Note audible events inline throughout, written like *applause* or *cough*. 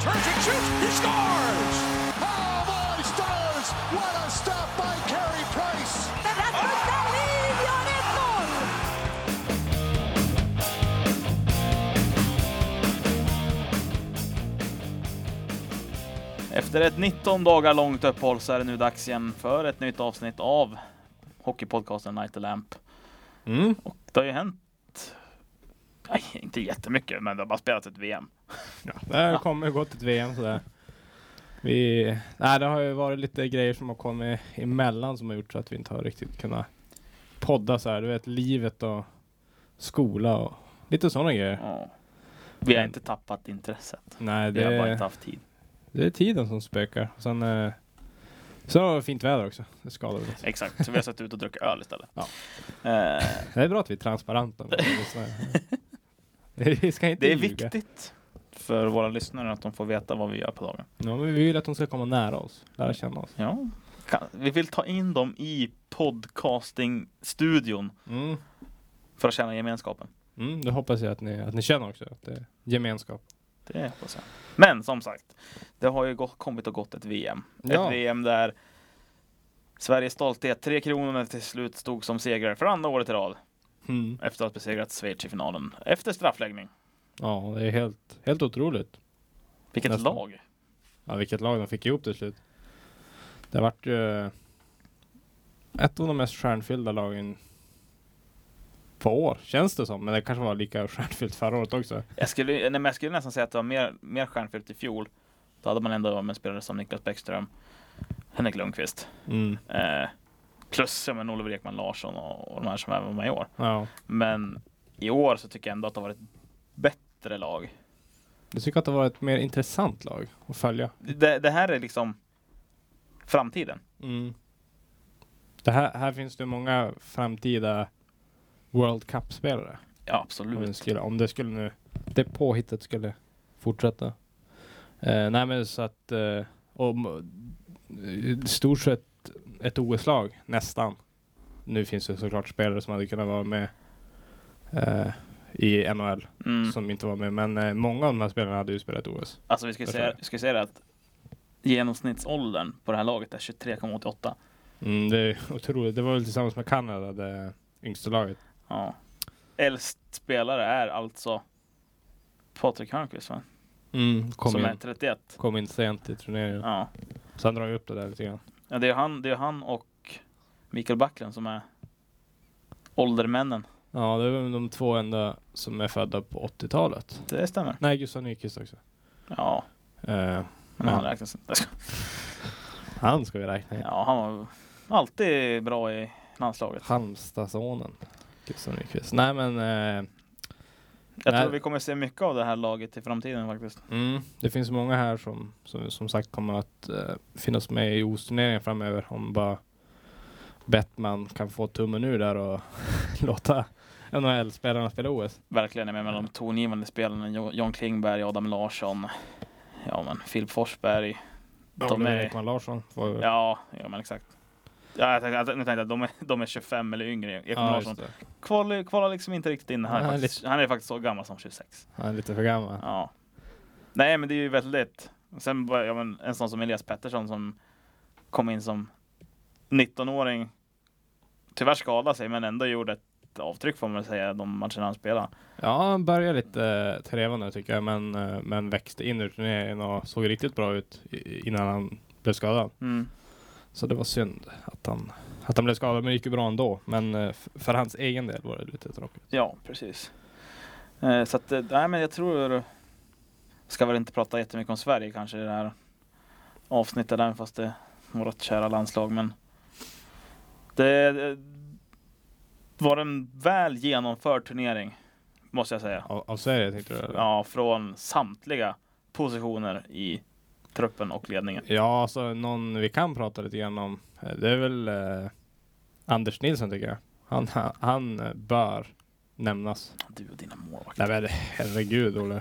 turns and shoots. He scores! Oh my stars! What a stop by Carey Price! Rasmus Dahlin gör ett mål! Efter ett 19 dagar långt uppehåll så är det nu dags igen för ett nytt avsnitt av Hockeypodcasten Night of Lamp. Mm. Och det har ju hänt, nej inte jättemycket, men vi har bara spelat ett VM. Där kommer gått ett VM sådär. Vi, nej, det har ju varit lite grejer som har kommit emellan som har gjort så att vi inte har riktigt kunnat podda så här. Du vet, livet och skola och lite sådana grejer. Ja. Vi har inte tappat intresset. Nej, Vi det, har bara inte haft tid. det är tiden som spökar. Och Sen, eh, sen har vi fint väder också. Det skadar väl inte. Exakt, så vi har suttit ut och druckit öl istället. Ja. Eh, Det är bra att vi är transparenta. med det, *laughs* lyssnare. Vi ska inte det är ljuga. viktigt för våra lyssnare att de får veta vad vi gör på dagen. Ja, men vi vill att de ska komma nära oss, lära känna oss. Ja. Kan- Vi vill ta in dem i podcastingstudion Mm. för att känna gemenskapen. Mm, det hoppas jag att ni, att ni känner också, att det är gemenskap. Det hoppas jag. Men som sagt, det har ju gått, kommit och gått ett VM. Ja. Ett VM där Sveriges stolthet, Tre Kronor, till slut stod som segrare för andra året i rad Mm. efter att ha besegrat Schweiz i finalen efter straffläggning. Ja, det är helt, helt otroligt. Vilket Nästan. lag! Ja, vilket lag de fick ihop till slut. Det har varit eh, ett av de mest stjärnfyllda lagen på år, känns det som. Men det kanske var lika stjärnfyllt förra året också. Jag skulle, nej, men jag skulle nästan säga att det var mer, mer stjärnfyllt i fjol. Då hade man ändå med spelare som Niklas Bäckström, Henrik Lundqvist, eh, plus ja, men Oliver Ekman Larsson och, och de här som även var med i år. Ja. Men i år så tycker jag ändå att det har varit ett bättre lag. Jag tycker att det var ett mer intressant lag att följa. det, det här är liksom framtiden. Det här, här finns det många framtida World Cup-spelare. Ja, Om det absolut. skulle, om det skulle nu, det påhittet skulle fortsätta. Eh, nej men så att, eh, om, eh, stort sett ett OS-lag, nästan. Nu finns det såklart spelare som hade kunnat vara med eh, i NHL Mm. som inte var med, men eh, många av de här spelarna hade ju spelat OS. Alltså vi ska ju Jag säga, tror vi ska ju säga det att genomsnittsåldern på det här laget är 23,88. Mm, det är otroligt, det var väl tillsammans med Kanada det yngsta laget. Ja. Äldst spelare är alltså Patrik Hörnqvist va? Mm, kom, som är in, 31. kom in sent i turneringen. Ja. Sen drar jag upp det där lite grann. Ja, det är han, det är han och Mikael Backlund som är åldermännen. Ja, det är väl de två enda som är födda på 80-talet. Det stämmer. Nej, Gustav Nyqvist också. Ja, Eh, men han räknas inte. han ska vi räkna in. Ja, han var alltid bra i landslaget. Halmstadsonen. Gustav Nyqvist. Nej men, eh, Jag Nej. tror vi kommer se mycket av det här laget i framtiden faktiskt. mm, det finns många här som som, som sagt kommer att eh, finnas med i OS-turneringen framöver. Om bara Batman kan få tummen ur där och *laughs* låta NHL-spelarna spela OS. verkligen är med mellan de tongivande spelarna. Jo- John Klingberg, Adam Larsson, ja men Filip Forsberg. De Oliver är, Ekman Larsson får ja, ja men exakt. Ja, jag tänkte, jag tänkte att de är, de är 25 eller yngre. Ekman Ja, Larsson just det. kvalar, kvalar liksom inte riktigt in. Han är, Nej, faktiskt, han är faktiskt så gammal som 26. Han är lite för gammal. Ja. Nej men det är ju väldigt. Sen bara, ja, men en sån som Elias Pettersson som kom in som 19-åring. Tyvärr skadade sig men ändå gjorde ett avtryck får man väl säga de matcherna han spelade. Ja, han började lite eh, trevande tycker jag, men, eh, men växte in i turneringen och såg riktigt bra ut i- innan han blev skadad. Mm. Så det var synd att han, att han blev skadad, men det gick ju bra ändå. Men eh, f- för hans egen del var det lite tråkigt. Ja, precis. Eh, så att, eh, nej men jag tror... Ska väl inte prata jättemycket om Sverige kanske i det här avsnittet, även fast det är vårt kära landslag. Men det, det var en väl genomförd turnering, måste jag säga. Av, av Sverige tänkte du? eller? Ja, från samtliga positioner i truppen och ledningen. Ja, alltså någon vi kan prata lite grann om. eh, Det är väl eh, Anders Nilsson tycker jag. Han, han, han eh, bör nämnas. Du och dina målvakter. Nej men herregud *laughs* Olle.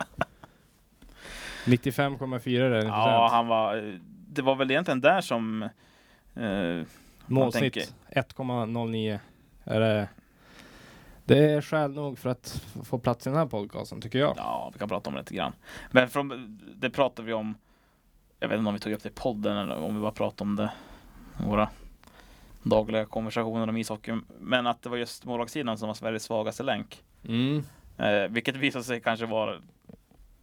95,4 är det. Ja, Ja, han var... Det var väl egentligen där som... eh, Målsnitt tänker- 1,09. Är det, Det är skäl nog för att f- få plats i den här podcasten tycker jag. Ja, vi kan prata om det lite grann. Men från, det pratade vi om, jag vet inte om vi tog upp det i podden eller om vi bara pratade om det i våra dagliga konversationer om ishockey. Men att det var just målvaktssidan som var Sveriges svagaste länk. Mm. Eh, vilket visade sig kanske vara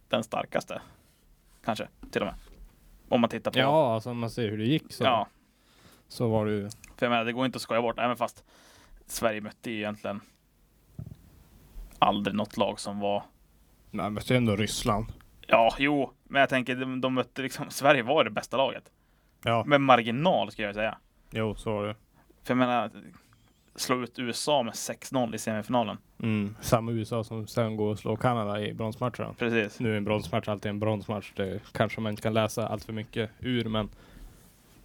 den starkaste. Kanske till och med. Om man tittar på. Ja, alltså om man ser hur det gick så, ja så var det ju... för jag menar, det går inte att skoja bort. Även fast Sverige mötte ju egentligen aldrig något lag som var Nej, men det är ändå Ryssland. Ja, jo, men jag tänker de, de mötte liksom *laughs* Sverige var det bästa laget. Ja, Med marginal skulle jag säga. jo, så var det. För jag menar, slå ut USA med 6-0 i semifinalen. Mm. Samma USA som sen går och slår Kanada i bronsmatchen. Precis. Nu är en bronsmatch alltid en bronsmatch. Det kanske man inte kan läsa allt för mycket ur, men,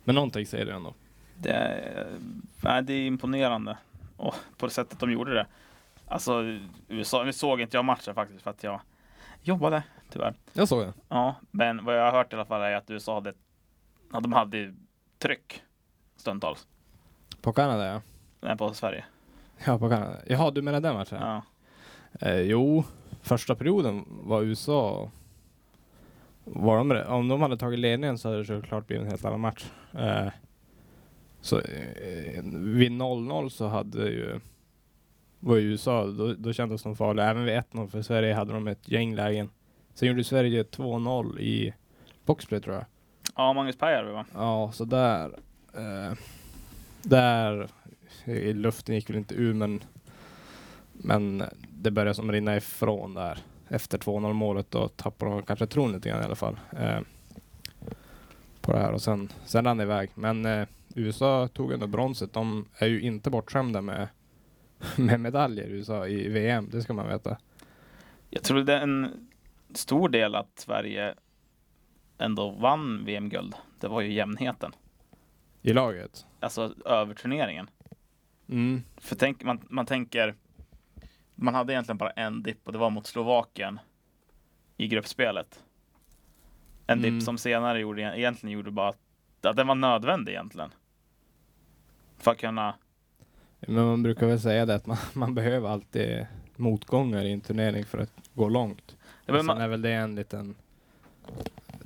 men någonting säger det ändå. Det är, nej, det är imponerande. Och på det sättet de gjorde det. Alltså USA, nu såg inte jag matchen faktiskt för att jag jobbade tyvärr. Jag såg det. Ja, men vad jag har hört i alla fall är att USA hade, ja, de hade tryck stundtals. På Kanada ja. Nej, på Sverige. Ja, på Kanada. Jaha, du menar den matchen? Ja. Eh, jo, första perioden var USA... Var de, re- om de hade tagit ledningen så hade det såklart blivit en helt annan match. Eh, så eh, vid 0-0 så hade ju... Var ju USA, då, då kändes de farliga. Även vid 1-0 för Sverige hade de ett gäng lägen. Sen gjorde Sverige 2-0 i boxplay tror jag. ja, Magnus Pääjärvi va? Ja, så där... Eh, där... I luften gick väl inte ur, men... Men det började som rinna ifrån där. Efter 2-0 målet då tappade de kanske tron lite grann i alla fall. Eh, på det här och sen, sen rann det iväg. Men eh, USA tog ändå bronset. De är ju inte bortskämda med, *laughs* med medaljer USA i VM, det ska man veta. Jag tror det är en stor del att Sverige ändå vann VM-guld. Det var ju jämnheten. I laget. Alltså överturneringen. Mm. För tänk, man, man tänker, man hade egentligen bara en dipp och det var mot Slovakien i gruppspelet. En Mm. dipp som senare gjorde, egentligen gjorde bara att, att den var nödvändig egentligen. För att kunna, Men man brukar väl säga det att man, *laughs* man behöver alltid motgångar i en turnering för att gå långt. Ja, men Sen man- är väl det en liten...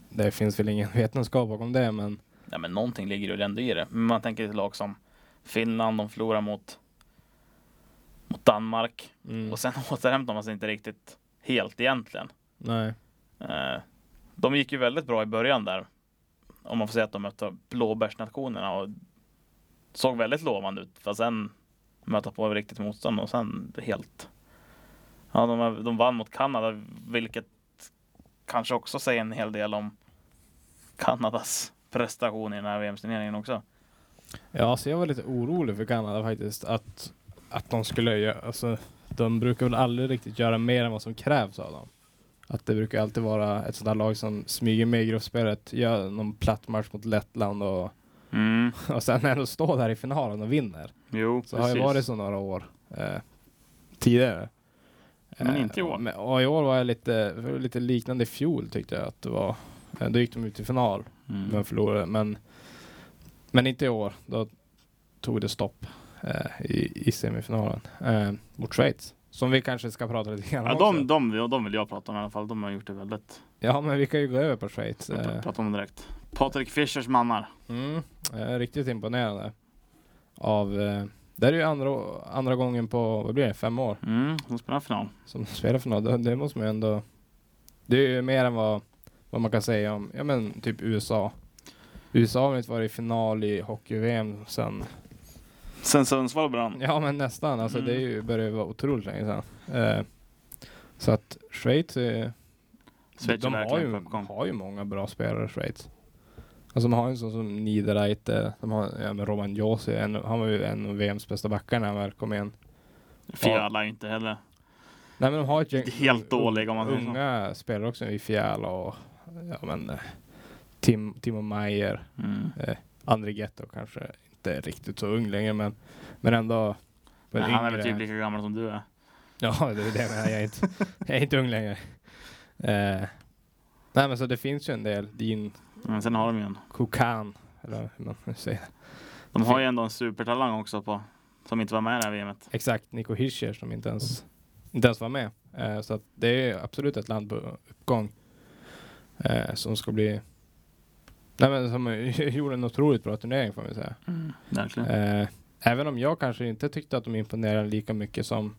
Det finns väl ingen *laughs* vetenskap bakom det, men ja men någonting ligger ju ändå i det. Men man tänker ett lag som Finland, de förlorar mot, mot Danmark. mm, Och sen *laughs* återhämtar man sig inte riktigt helt egentligen. nej. Eh, De gick ju väldigt bra i början där. Om man får säga att de mötte blåbärsnationerna och såg väldigt lovande ut. Fast sen möta på riktigt motstånd och sen helt. Ja, de, de vann mot Kanada, vilket kanske också säger en hel del om Kanadas prestation i den här VM-turneringen också. Ja, så jag var lite orolig för Kanada faktiskt. Att, att de skulle göra... Alltså, de brukar väl aldrig riktigt göra mer än vad som krävs av dem. Att det brukar alltid vara ett sånt här lag som smyger med i gruppspelet, gör någon platt match mot Lettland och, *laughs* Mm, och sen ändå står där i finalen och vinner. jo, Så har jag varit så några år eh, tidigare. Eh, Men inte i år. Mm. Men, och i år var jag lite, det var lite liknande i fjol tyckte jag att det var. Eh, Då gick de ut till final Mm. men förlorade. Men, men inte i år. Då tog det stopp eh, i, i semifinalen eh, mot Schweiz. Som vi kanske ska prata lite grann Ja, om också. de, de, de vill jag prata om i alla fall. De har gjort det väldigt Ja, men vi kan ju gå över på Schweiz. Jag Eh, pra- pratar om det direkt. Patrik Fischers mannar. Mm, eh, riktigt imponerande. Av, eh, det här är ju andra, andra gången på, vad blir det, fem år? Mm, de spelar final. som spelar för något, det, det måste man ju ändå... Det är ju mer än vad, vad man kan säga om, ja men typ USA. USA har inte varit i final i hockey-VM sen, *laughs* Sen Sundsvall brann. ja men nästan, alltså Mm. det är ju, börjar ju vara otroligt länge sedan. Eh, så att Schweiz, är- Schweiz är de har verkligen ju, på uppgång. har ju många bra spelare Schweiz. Alltså de har ju en sån som Niederreiter, de har, ja men Roman Josi, en, han var ju en av VMs bästa backar när han väl kom in. Fjäla är inte heller. Nej men de har ett gäng Helt dåliga om man säger så. Unga spelare också i Fjäll och ja, men, eh, Tim, Timo Meyer, Mm. André Ghetto kanske inte är riktigt så ung längre men, men ändå. Men Men han är väl yngre. typ lika gammal som du är. Ja, det är det jag menar. Jag är inte, *laughs* jag är inte ung längre. Eh, nej men så det finns ju en del. Din Men sen har de ju en. Kokan, eller hur man nu säger. De har ju ändå en supertalang också på Som inte var med i det här VMet. Exakt, Nico Hischer som inte ens, inte ens var med. Eh, så att det är absolut ett land på uppgång. Eh, som ska bli... Nej men som *laughs* gjorde en otroligt bra turnering får man säga. Mm. Verkligen. Eh, även om jag kanske inte tyckte att de imponerade lika mycket som,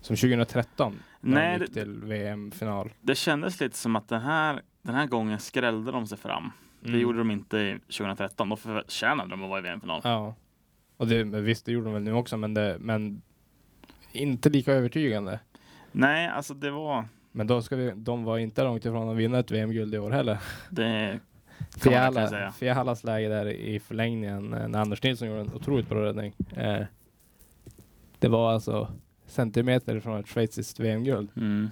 som 2013. När Nej, de gick det- till VM-final. Det kändes lite som att den här, den här gången skrällde de sig fram. Det Mm. gjorde de inte i 2013. Då förtjänade de att vara i VM-final. Ja. Och det, men visst, det gjorde de väl nu också, men, det, men inte lika övertygande. Nej, alltså det var... Men då ska vi, de var inte långt ifrån att vinna ett VM-guld i år heller. Det kan man verkligen Fiala, säga. Fialas läge där i förlängningen eh, när Anders Nilsson gjorde en otroligt bra räddning. Eh, det var alltså centimeter från ett schweiziskt VM-guld. Mm.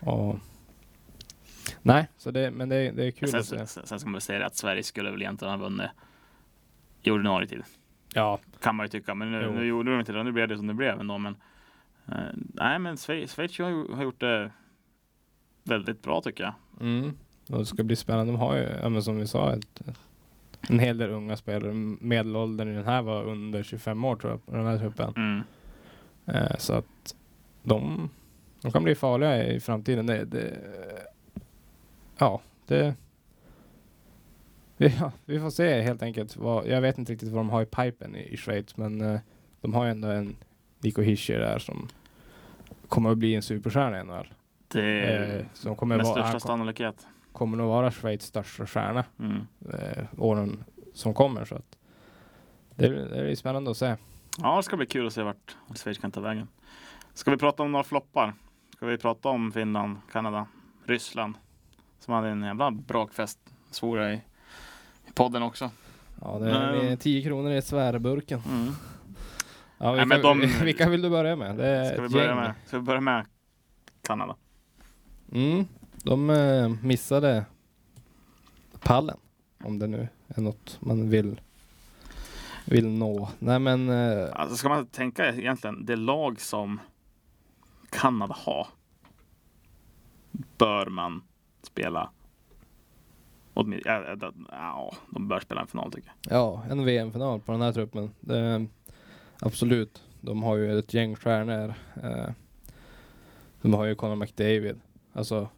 Och... Nej, så det, men det, det är kul Sen, att se. sen, sen ska man väl säga det att Sverige skulle väl egentligen ha vunnit i ordinarie tid. Ja, Kan man ju tycka, men nu, Jo. nu gjorde de inte det. Nu blev det som det blev ändå. Men, eh, nej, men Schweiz, Schweiz har, ju- har gjort det väldigt bra tycker jag. Mm. Och det ska bli spännande. De har ju, ja, men som vi sa, ett, en hel del unga spelare. Medelåldern i den här var under 25 år tror jag, på den här truppen. Mm. Eh, så att de, de kan bli farliga i framtiden. Det, det, ja, det... Ja, vi får se helt enkelt. Vad, jag vet inte riktigt vad de har i pipen i, i Schweiz, men eh, de har ju ändå en Nico Hischer där som kommer att bli en superstjärna i NHL. Det är Eh, som kommer med att vara, största han kom- sannolikhet. kommer nog vara Schweiz största stjärna Mm. eh, åren som kommer. Så att det, det är spännande att se. Ja, det ska bli kul att se vart Schweiz kan ta vägen. Ska vi prata om några floppar? Ska vi prata om Finland, Kanada, Ryssland? Som hade en jävla brakfest, svor jag i, i podden också. Ja, det är- det är 10 kronor i svärburken. Mm. Ja, Nej, vilka, men *laughs* de- vilka vill du börja med? Det är Ska, vi ett börja gäng. med, ska vi börja med Kanada? Mm, de eh, missade pallen. Om det nu är något man vill, vill nå. Nej men eh, Alltså ska man tänka egentligen, det lag som Kanada har bör man spela Åtminstone, ja, ja, ja, de bör spela en final tycker jag. ja, en VM-final på den här truppen. Det, absolut, de har ju ett gäng stjärnor. Eh, de har ju Conor McDavid. Alltså,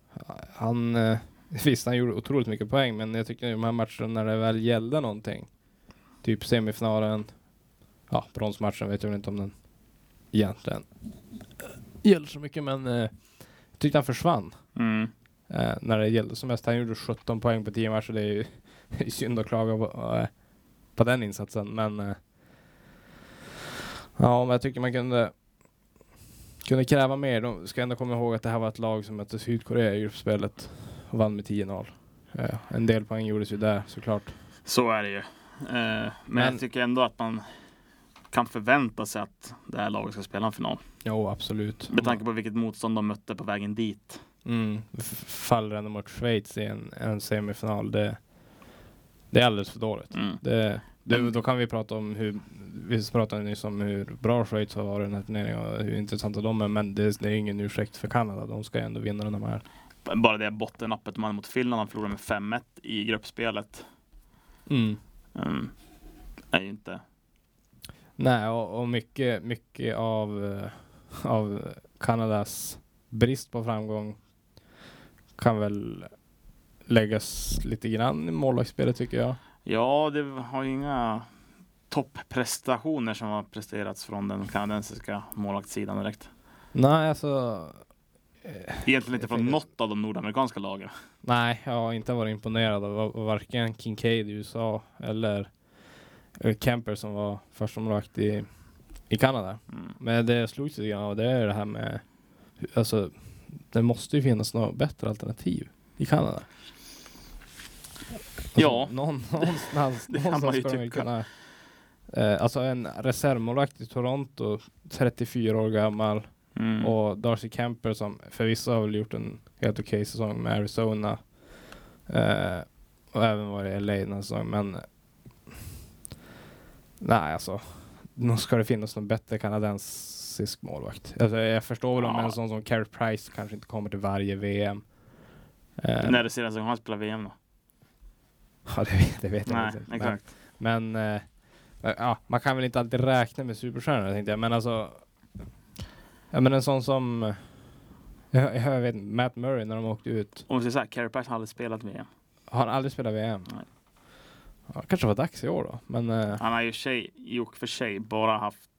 han, eh, *laughs* visst han gjorde otroligt mycket poäng men jag tycker i de här matcherna när det väl gällde någonting. Typ semifinalen, ja bronsmatchen vet jag väl inte om den egentligen gäller så mycket men eh, jag tyckte han försvann. Mm. Eh, när det gällde som mest. Han gjorde 17 poäng på 10 matcher. Det är ju *laughs* det är synd att klaga på, eh, på den insatsen. Men eh, ja, men jag tycker man kunde kunde kräva mer. De ska ändå komma ihåg att det här var ett lag som mötte Sydkorea i gruppspelet och vann med 10-0. Eh, en del poäng gjordes ju där såklart. Så är det ju. Eh, men, Men- jag tycker ändå att man kan förvänta sig att det här laget ska spela en final. Jo, absolut. Med tanke på vilket motstånd de mötte på vägen dit. Mm, f- faller ändå mot Schweiz i en, en semifinal. Det, det är alldeles för dåligt. Mm. Det, Men- det, då kan vi prata om hur, vi pratade nyss om hur bra Schweiz har varit i den här turneringen och hur intressanta de är, men det, det är ingen ursäkt för Kanada. De ska ju ändå vinna den här. Bara det bottennappet man mot Finland, de förlorade med 5-1 i gruppspelet. Mm. Mm. Är ju inte... Nej, och, och mycket, mycket av, eh, av Kanadas brist på framgång kan väl läggas lite grann i målvaktsspelet tycker jag. Ja, det har ju inga topprestationer som har presterats från den kanadensiska målvaktssidan direkt. Nej, alltså Egentligen inte Jag från tänker- något av de nordamerikanska lagen. Nej, jag har inte varit imponerad av av varken Kincaid i USA eller eller Kemper som var förstemålvakt i, i Kanada. Mm. Men det jag slogs lite grann av det är det här med, alltså det måste ju finnas något bättre alternativ i Kanada. Alltså, Ja. *laughs* Någon, någonstans, Det kan man någonstans ju ska de väl tycka. kunna, eh, alltså en reservmålvakt i Toronto, 34 år gammal, Mm. och Darcy Kemper som förvisso har väl gjort en helt okej säsong med Arizona. Eh, och även varit i LA den här säsongen. Men nej alltså. Nu ska det finnas någon bättre kanadensisk målvakt. Alltså, jag förstår väl om Ja. en sån som Carey Price kanske inte kommer till varje VM. Eh, *laughs* När det senaste gången han spelade VM då? Ja, det, vet- det vet jag Nej, inte. Men- exakt. men eh, Eh, Ja, man kan väl inte alltid räkna med superstjärnor tänkte jag, men alltså... Ja men en sån som... eh, Jag, jag vet inte, Matt Murray när de åkte ut. Om vi säger såhär, Carey Price har aldrig spelat VM. Har han aldrig spelat VM? Nej. Ja, kanske var dags i år då, men... eh, Han har ju i och för sig- i och för sig bara haft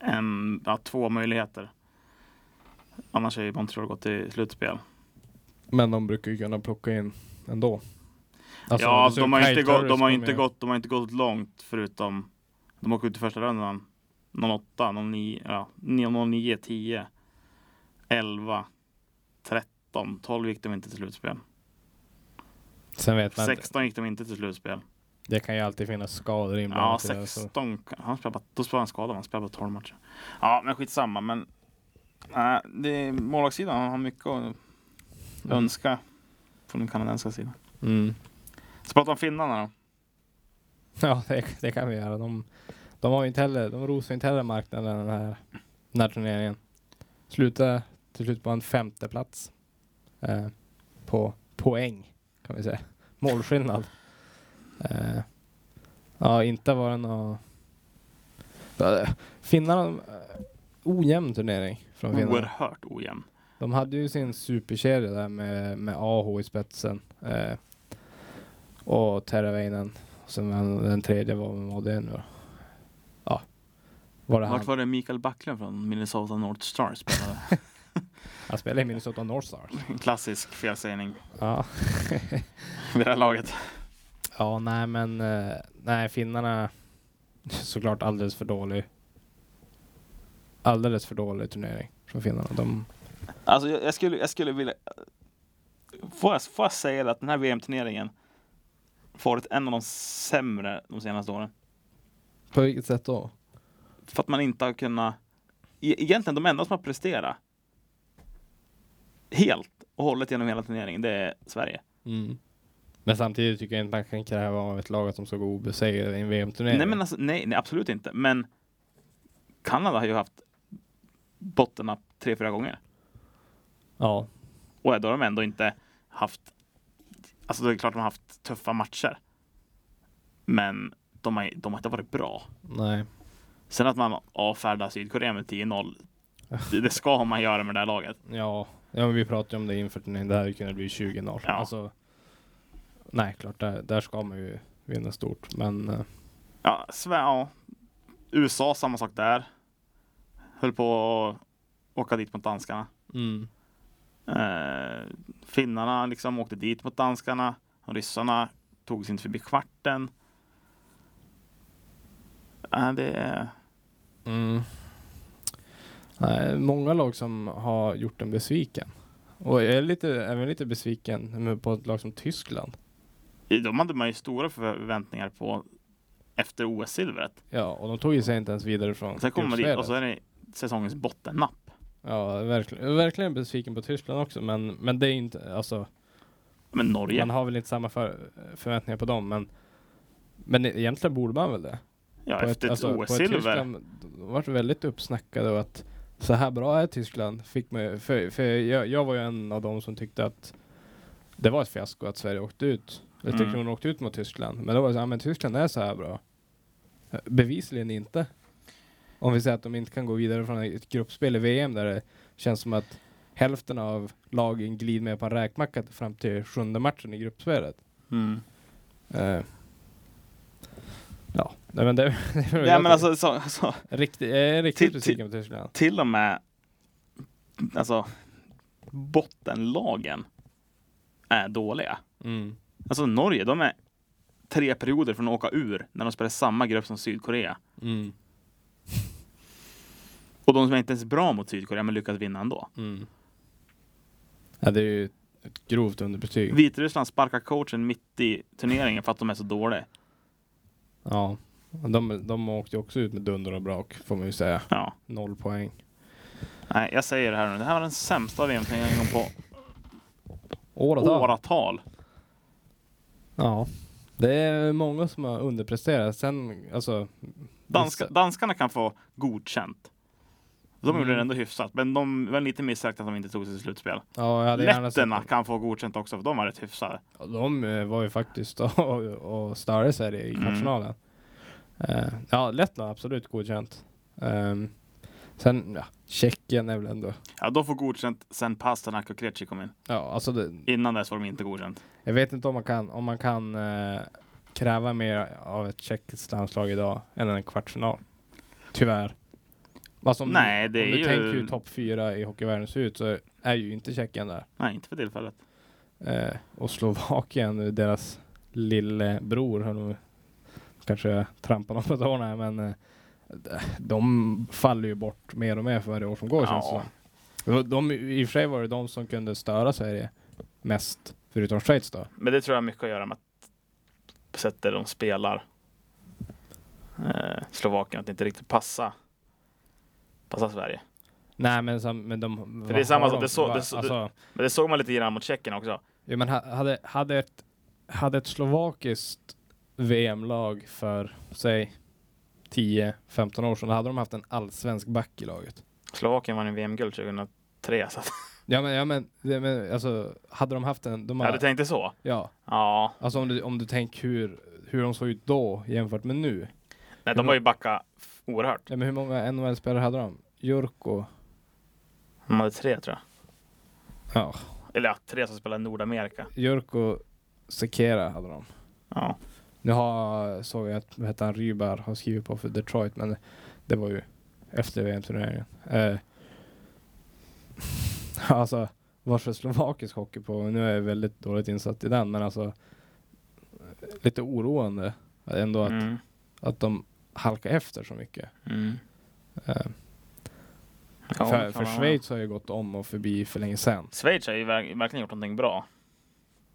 en, ja, två möjligheter. Annars har ju Montreal gått till slutspel. Men de brukar ju kunna plocka in ändå. Alltså, ja, du ser de har, Kyle inte gått, Turris de, har kom inte ju- gått, de har inte gått långt förutom de åker ut i första rundan. 08, 09, ja, 09, 10, 11, 13, 12 gick de inte till slutspel. Sen vet man inte. 16 gick de inte till slutspel. Det kan ju alltid finnas skador alltså. inblandat. i Ja, det, så- 16. kan- Han spelar bara, då spelar han skadad, han spelar bara 12 matcher. Ja, men skitsamma. Men nej, det, målvaktssidan har mycket Mm. att önska från den kanadensiska sidan. Mm. Så pratar om finnarna då. *laughs* Ja, det, det kan vi göra. De, de har ju inte heller, de rosar ju inte heller marknaden den här, den här turneringen. Slutar till slut på en femte plats eh, på poäng, kan vi säga. *laughs* Målskillnad. Eh, ja, inte var det någon... Eh, Finnarna, eh, ojämn turnering från finnarna. Oerhört ojämn. De hade ju sin superkedja där med, med AH i spetsen. Eh, och Teravainen. Och sen den, den tredje var, vem var det nu då? Ja. Var det han? Vart var det Mikael Backlund från Minnesota North Star spelade? *laughs* Han spelade i Minnesota North Stars. En Klassisk felsägning Ja. vid det här laget. ja, nej men eh, nej, finnarna såklart alldeles för dålig. Alldeles för dålig turnering från finnarna. De, Alltså jag, jag, skulle, jag skulle vilja... Får jag, får jag säga det att den här VM-turneringen varit en av de sämre de senaste åren? på vilket sätt då? För att man inte har kunnat... e- Egentligen de enda som har presterat helt och hållet genom hela turneringen, det är Sverige. Mm. Men samtidigt tycker jag inte man kan kräva av ett lag att de ska gå obesegrade i en VM-turnering. Nej, men alltså, nej, nej, absolut inte. Men Kanada har ju haft bottennapp tre, fyra gånger. Ja, Och då har de ändå inte haft... Alltså det är klart de har haft tuffa matcher. Men de har, de har inte varit bra. Nej. Sen att man avfärdar Sydkorea med 10-0, det, det ska man göra med det här laget. Ja, ja men vi pratade ju om det inför turneringen. Det hade ju kunnat bli 20-0. Ja. Alltså, nej, klart. Där, där ska man ju vinna stort. Men eh, Ja, Sve- ja. USA, samma sak där. Höll på att åka dit mot danskarna. mm, Eh, finnarna liksom åkte dit mot danskarna. Ryssarna tog sig inte förbi kvarten. Äh, det är... mm. Nej, många lag som har gjort en besviken. Och jag är lite, även lite besviken med- på ett lag som Tyskland. De hade man ju stora förväntningar på efter OS-silvret. Ja, och de tog ju sig inte ens vidare från Sen kommer man dit och gruppspelet. så är det säsongens bottennapp. Ja, verkligen, jag är verkligen besviken på Tyskland också. Men, men det är ju inte, alltså, Men Norge, man har väl inte samma för, förväntningar på dem. Men, men egentligen borde man väl det. ja, på efter ett alltså, på OS-silver. Tyskland, De vart väldigt uppsnackade och att så här bra är Tyskland. Fick mig, för för jag, jag var ju en av dem som tyckte att det var ett fiasko att Sverige åkte ut. Jag tyckte Mm. hon åkte ut mot Tyskland. Men då var det så här, men Tyskland är så här bra. Eh, Bevisligen inte. Om vi säger att de inte kan gå vidare från ett gruppspel i VM där det känns som att hälften av lagen glider med på en räkmacka fram till sjunde matchen i gruppspelet. Mm. Eh. Ja, nej men det... *laughs* det är väl Ja, jag men alltså, så, så, Riktigt, jag är riktigt Till- besviken på Tyskland. till och med alltså, bottenlagen är dåliga. Mm. Alltså Norge, de är tre perioder från att åka ur när de spelar samma grupp som Sydkorea. Mm. Och de som är inte ens bra mot Sydkorea men lyckas vinna ändå. Mm. Ja, det är ju ett grovt underbetyg. Vitryssland sparkar coachen mitt i turneringen för att de är så dåliga. Ja. De, de åkte ju också ut med dunder och brak, får man ju säga. Ja. Noll poäng. Nej, jag säger det här nu. Det här var den sämsta VM-turneringen på Åratal. åratal. Ja. Det är många som har underpresterat. Sen, alltså... Danska, vissa- danskarna kan få godkänt. De gjorde Mm. det ändå hyfsat, men de var lite missräknat att de inte tog sig till slutspel. Ja, jag hade gärna sett Letterna dem. kan få godkänt också, för de var rätt hyfsade. *laughs* Ja, De eh, var ju faktiskt och, och starkade Sverige i Mm. kvartsfinalen. Eh, ja, Lettland absolut godkänt. Ehm, sen, ja, Tjeckien är väl ändå... Ja, de får godkänt sen Pasternak och Krejci kom in. Ja, alltså det, Innan dess var de inte godkänt. jag vet inte om man kan, om man kan eh, kräva mer av ett tjeckiskt landslag idag än en kvartsfinal. Tyvärr. Alltså, om Nej, det du, om är du ju... tänker hur topp fyra i hockeyvärlden ser ut så är ju inte Tjeckien där. Nej, inte för tillfället. Eh, och Slovakien, deras lillebror, har nog kanske trampat någon på tårna här, men eh, de faller ju bort mer och mer för varje år som går Ja. känns det som. Det var de, I och för sig var det de som kunde störa Sverige mest, förutom Schweiz då. Men det tror jag har mycket att göra med att sättet de spelar. Eh, Slovakien, att det inte riktigt passa passa Sverige. Nej men, sam, men de... För det vad är samma har sak, de? det så- Va- det så- alltså, Men det såg man lite grann mot Tjeckien också. ja, men ha- hade, hade, ett, hade ett slovakiskt VM-lag för, säg, 10-15 år sedan, då hade de haft en allsvensk back i laget. Slovakien vann en VM-guld 2003. Så att, Ja men, ja, men, det, men alltså, hade de haft en... De jag hade hade, tänkt det så. ja, Ja, alltså om du, om du tänker hur, hur de såg ut då jämfört med nu. nej, de har Mm. ju backat f- oerhört. Ja, men hur många NHL-spelare hade de? Jurko? De hade tre tror jag. Ja. Eller ja, tre som spelar i Nordamerika. Jurko Sekera hade de. Ja. Nu har, såg jag att vad heter han, Rybar har skrivit på för Detroit, men det var ju efter VM-turneringen. Eh, *laughs* alltså, varför slovakisk hockey på? Nu är jag väldigt dåligt insatt i den, men alltså lite oroande ändå att Mm. att de halkar efter så mycket. Mm. Eh, Ja, det för kan för man- Schweiz har ju gått om och förbi för länge sedan. Schweiz har ju verk- verkligen gjort någonting bra.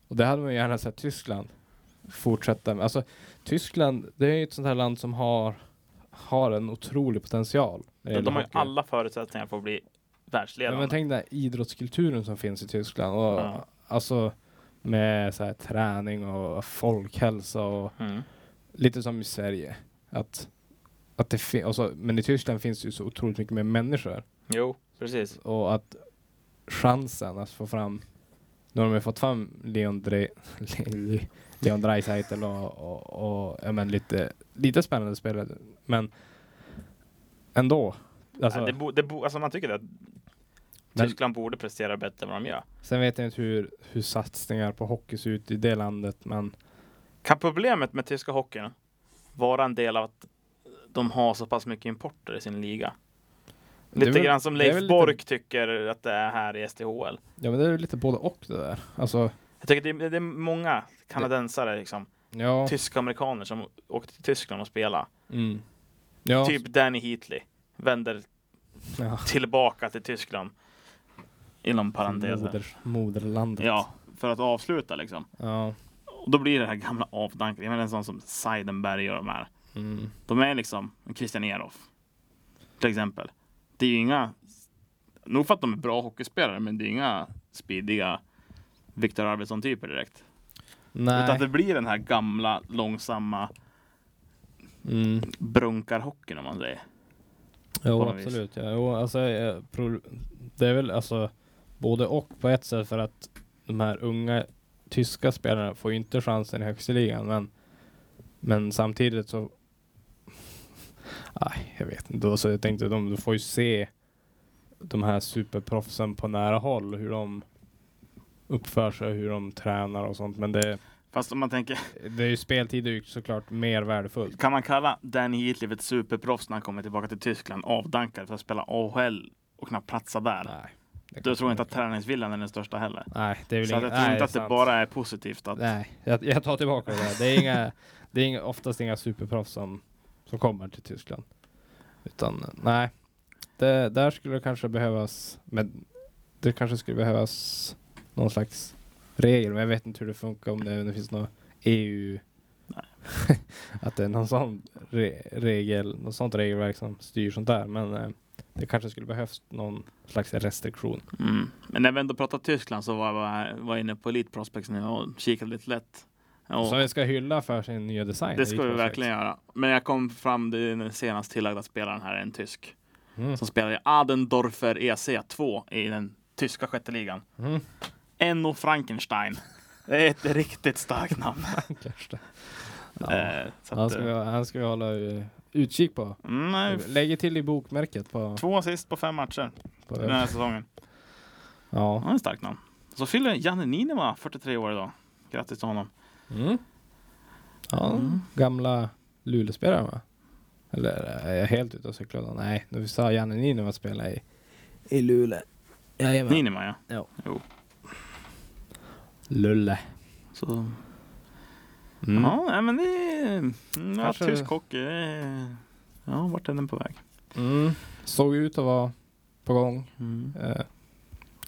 Och det hade man ju gärna sett Tyskland fortsätta med. Alltså, Tyskland, det är ju ett sånt här land som har, har en otrolig potential. när det De, gäller de har ju hockey. alla förutsättningar för att bli Ja, men världsledande. tänk den här idrottskulturen som finns i Tyskland. Och, Ja. Alltså med så här, träning och folkhälsa och Mm. lite som i Sverige. Att, att det fin- alltså, men i Tyskland finns det ju så otroligt mycket mer människor. Jo, precis. och att chansen att få fram nu har de ju fått fram Leon, Dre, Leon Draisaitl och, och, och ja, men lite, lite spännande spelare, men ändå. Alltså, Nej, det bo, det bo, alltså man tycker att Men- Tyskland borde prestera bättre än vad de gör. Sen vet jag inte hur, hur satsningar på hockey ser ut i det landet, men Kan problemet med tyska hockeyn vara en del av att de har så pass mycket importer i sin liga? Det är Lite väl- grann som det är Leif väl lite- Bork tycker att det är här i SDHL. ja, men det är ju lite både och det där. Alltså, Jag tycker det är, det är många kanadensare, liksom, ja. tyska amerikaner som åkte till Tyskland och spelade. Mm. Ja. Typ Danny Heatley vänder ja. tillbaka till Tyskland. Inom parentesen. Moder, moderlandet. Ja, för att avsluta liksom. ja. Och då blir det här gamla avdankningen. Men en sån som Seidenberg och de här. Mm. De är liksom Christian Eroff. Till exempel. Det är ju inga... Nog för att de är bra hockeyspelare, men det är inga speediga Viktor Arvidsson-typer direkt. Utan Nej. det blir den här gamla, långsamma Mm. brunkarhockeyn om man säger. Jo, på något vis. absolut. Ja. Jo, alltså, eh, pro- det är väl alltså både och på ett sätt för att de här unga tyska spelarna får ju inte chansen i högsta ligan, men, men samtidigt så... Nej, jag vet inte. Då, så jag tänkte de, du får ju se de här superproffsen på nära håll, hur de uppför sig, hur de tränar och sånt. Men det, Fast om man tänker, det är ju speltid är ju såklart mer värdefullt. kan man kalla Danny Heatley för ett superproffs när han kommer tillbaka till Tyskland avdankad för att spela AHL och knappt platsa där? Nej. det Då kanske tror jag inte man att träningsviljan är den största heller. Nej, det är väl Så att inget- jag tror nej, inte att det sant. bara är positivt att Nej, jag, jag tar tillbaka det. där. Det är, inga, det är inga, oftast inga superproffs som, som kommer till Tyskland. Utan nej, det, där skulle det kanske behövas, men det kanske skulle behövas någon slags regel. Men jag vet inte hur det funkar om det, om det finns någon EU. Nej. *laughs* att det är någon sån re, regel, något sånt regelverk som styr sånt där. Men eh, det kanske skulle behövas någon slags restriktion. Mm. Men när vi ändå pratar Tyskland så var jag var, var inne på Elite Prospects nu och kikade lite lätt. Och Som vi ska hylla för sin nya design. det ska vi Elite Prospects. verkligen göra. Men jag kom fram till den senast tillagda spelaren här, en tysk. Mm. Som spelar i Adendorfer EC2 i den tyska sjätte ligan. Mm. Enno Frankenstein. Det är ett riktigt starkt namn. Kanske. *laughs* Ja. Eh, så Han att, eh, ska, han ska hålla eh, utkik på. mm, nej, f- Lägger till i bokmärket på... två assist på fem matcher på den här säsongen. ja. Han är en stark namn. Så fyller Janne Niinema 43 år idag. Grattis till honom. Mm. ja. Mm. Gamla Luleåspelare va? Eller är jag helt ute och cyklar då? Nej, nu sa Janne Niinema att spela i... I Luleå. Jajamän. Niinema ja. Lulle. Så, Mm. Ja, nej, men det är... Mm, ja, Kanske- tysk hockey. det är- Ja, vart är den på väg? Mm. Såg ut att vara på gång. Mm. Eh,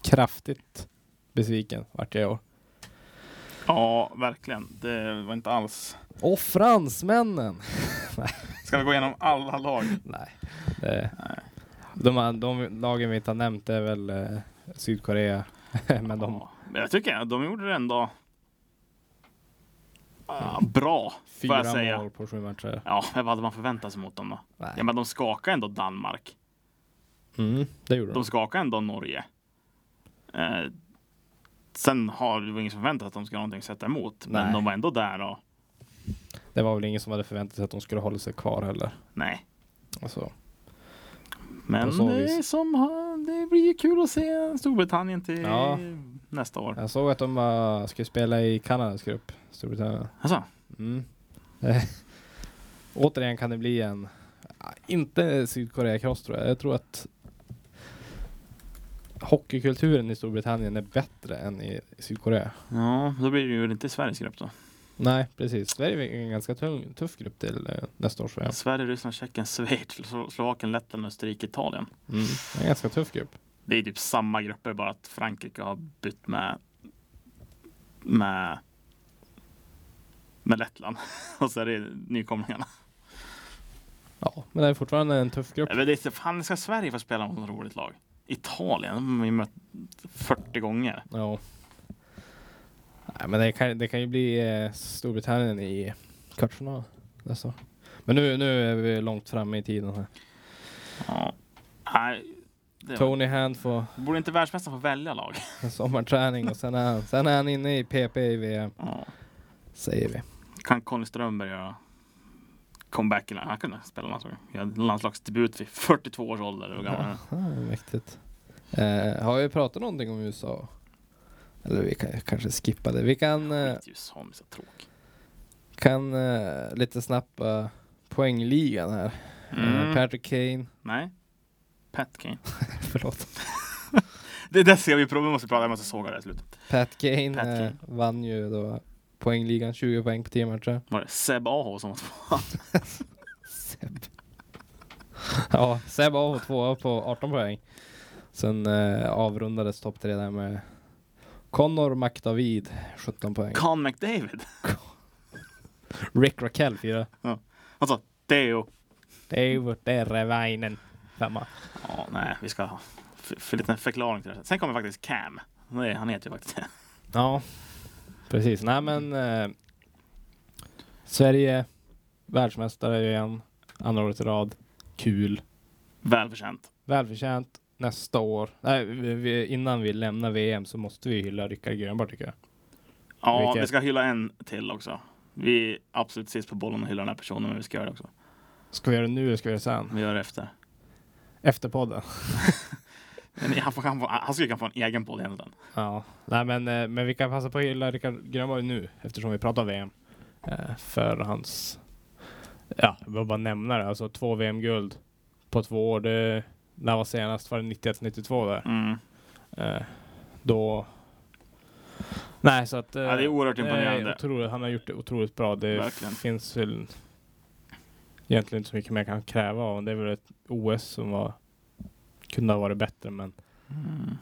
kraftigt besviken vart jag i år. Ja, verkligen. Det var inte alls... Och fransmännen! Ska vi gå igenom alla lag? Nej. Det, de, här- de lagen vi inte har nämnt är väl eh, Sydkorea. *laughs* Men de Ja, men jag tycker att de gjorde det ändå ah, bra. Får jag fyra säga. mål på sju matcher. Ja, vad hade man förväntat sig mot dem då? Nej. Ja, men de skakar ändå Danmark. Mm, det gjorde de. De skakar ändå Norge. Eh, sen har det väl ingen som förväntat att de ska ha någonting att sätta emot. Men Nej. de var ändå där och Det var väl ingen som hade förväntat sig att de skulle hålla sig kvar heller. nej. Alltså, Men På så det, är vis. som, har- det blir ju kul att se Storbritannien till Ja. nästa år. jag såg att de eh, skulle spela i Kanadas grupp, Storbritannien. Alltså, Mm. *laughs* Eh, Återigen kan det bli en, ah, inte Sydkorea-kross tror jag. Jag tror att hockeykulturen i Storbritannien är bättre än i Sydkorea. ja, då blir det ju inte Sveriges grupp då. Nej, precis. Sverige är en ganska tung, tuff grupp till eh, nästa års VM. Sverige, Ryssland, Tjeckien, Schweiz, Slo- Slovakien, Lettland, Österrike, Italien. Mm. En ganska tuff grupp. Det är typ samma grupper, bara att Frankrike har bytt med med, med Lettland. *laughs* Och så är det nykomlingarna. Ja, men det är fortfarande en tuff grupp. Men det är, fan, ska Sverige få spela mot något roligt lag? Italien, de har vi mött 40 gånger. Ja. Nej, men det kan, det kan ju bli eh, Storbritannien i kvartsfinal nästa år. Men nu, nu är vi långt framme i tiden här. Ja. Nej, det var, Tony Hand får borde inte världsmästaren få välja lag? en sommarträning och sen är han, sen är han inne i PP i VM, Ja. säger vi. Kan Conny Strömberg göra comeback? i- Han kunde spela landslag. Jag hade landslagsdebut vid 42 års ålder. Hur gammal är han? Aha, mäktigt. Eh, har vi pratat någonting om USA? Eller vi kan, kanske skippa det. Vi kan, eh, Skit i USA, de är så tråkig. kan eh, lite snabbt eh, poängligan här. Eh, Mm. Patrick Kane, *laughs* Nej. Pat Kane. *laughs* förlåt. Det där ser vi problem måste prata, jag måste såga det här i slutet. Pat Kane, Pat eh, Kane. vann ju då poängligan, 20 poäng på 10 matcher. *laughs* Var det Seb Aho som var tvåa? Seb. ja, Seb av tvåa på 18 poäng. Sen eh, avrundades topp tre där med Connor McDavid 17 poäng. Con McDavid. *laughs* Rick Raquel 4. Alltså, Theo. Eivor Terreväinen 5. Ja, nej, vi ska ha f- för liten förklaring till det. här. Sen kommer faktiskt Cam. Nej, han heter ju faktiskt det. *laughs* Ja, precis. Nej men eh, Sverige världsmästare igen. Andra året i rad. Kul. Välförtjänt. Välförtjänt. Nästa år. Nej, vi- vi, innan vi lämnar VM så måste vi hylla Rickard Grönberg tycker jag. Ja, Vilket- vi ska hylla en till också. Vi är absolut sist på bollen och hyllar den här personen, men vi ska göra det också. Ska vi göra det nu eller ska vi göra det sen? Vi gör det efter. Efter podden? Men han, får, han, får, han skulle kunna få en egen podd egentligen. Ja. Nej men, eh, men vi kan passa på att hylla Rickard Grönborg nu eftersom vi pratar VM. Eh, För hans... Ja, jag vill bara nämna det. Alltså två VM-guld på två år. Det, när var senast? Var det 91-92 där? Mm. Eh, Då... Nej så att... eh, Ja, det är oerhört imponerande. eh, otroligt, han har gjort det otroligt bra. Det Verkligen. finns väl egentligen inte så mycket mer kan kräva av honom. Det är väl ett OS som var... Kunde ha varit bättre men Mm.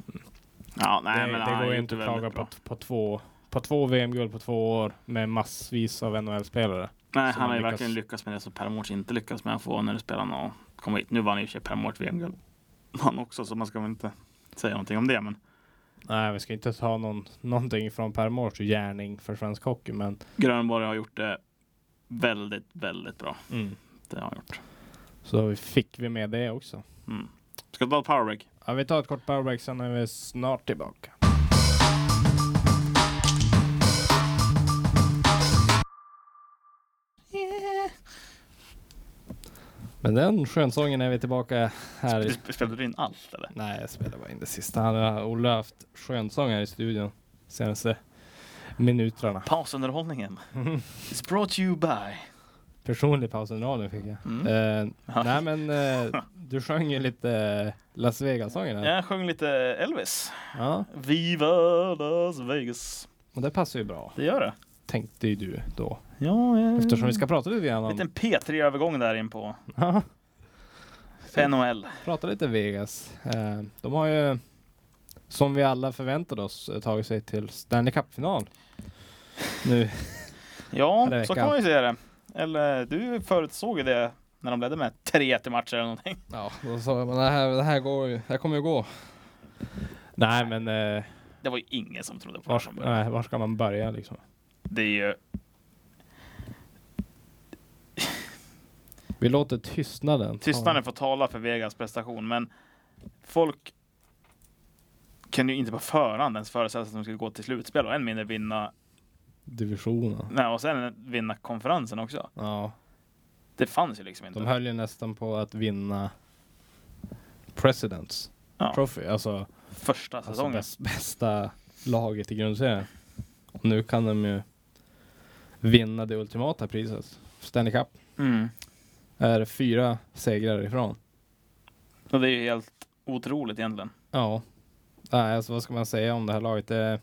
Ja, nej, det, men det han går ju gjort inte det att väldigt klaga på, bra. t- på två, på två VM-guld på två år med massvis av NHL-spelare. Nej, som han han har ju lyckas- verkligen lyckats med det som Per Mårts inte lyckas med att få när du spelar och komma hit. Nu vann i och för sig Per Mårts VM-guld *laughs* han också, så man ska väl inte säga någonting om det. Men Nej, vi ska inte ta någon, någonting från Per Mårts gärning för svensk hockey, men Grönborg har gjort det väldigt, väldigt bra. Mm. Det har han gjort. så fick vi med det också. Mm. Ska du ta ett powerbreak? Ja, vi tar ett kort powerbreak, sen är vi snart tillbaka. Men den skönsången är vi tillbaka här. i- Sp- Spelade du in allt eller? Nej, jag spelar bara in det sista. Han har Olle har haft skönsång här i studion senaste minuterna. *laughs* Pausunderhållningen. It's brought to you by. Personlig pausunderhållning fick jag. Mm. Eh, Ja. Nej men eh, du sjöng ju lite eh, Las Vegas-sången här. Jag sjöng lite Elvis. Ja. Viva Las Vegas. Och det passar ju bra, Det gör det. tänkte ju du då. Ja, ja, ja. Eftersom vi ska prata lite grann En liten om... P3-övergång där in på *laughs* Ja, NHL. prata lite Vegas. Eh, de har ju, som vi alla förväntade oss, eh, tagit sig till Stanley Cup-final. Nu. Ja, Förra så veckan. kan man ju se det. Eller du förutsåg ju det när de ledde med 3-1 i matcher eller någonting. Ja, då sa jag, men det här, det här går ju, det här kommer ju gå. Nej men, eh, Det var ju ingen som trodde på det var, från början. nej, var ska man börja liksom? Det är ju... Vi låter tystnaden. ta- Tystnaden får tala för Vegas prestation, men folk kunde ju inte på förhand ens föreställa sig att de skulle gå till slutspel och än mindre vinna, Divisionen. nej, och sen vinna konferensen också. Ja, Det fanns ju liksom inte. de höll ju nästan på att vinna Presidents Ja. Trophy, alltså, Första alltså säsongen. bäst, bästa laget i grundserien. Och Nu kan de ju vinna det ultimata priset, Stanley Cup. Mm. Är fyra segrar ifrån. Och det är ju helt otroligt egentligen. Ja. Nej, alltså vad ska man säga om det här laget? Det,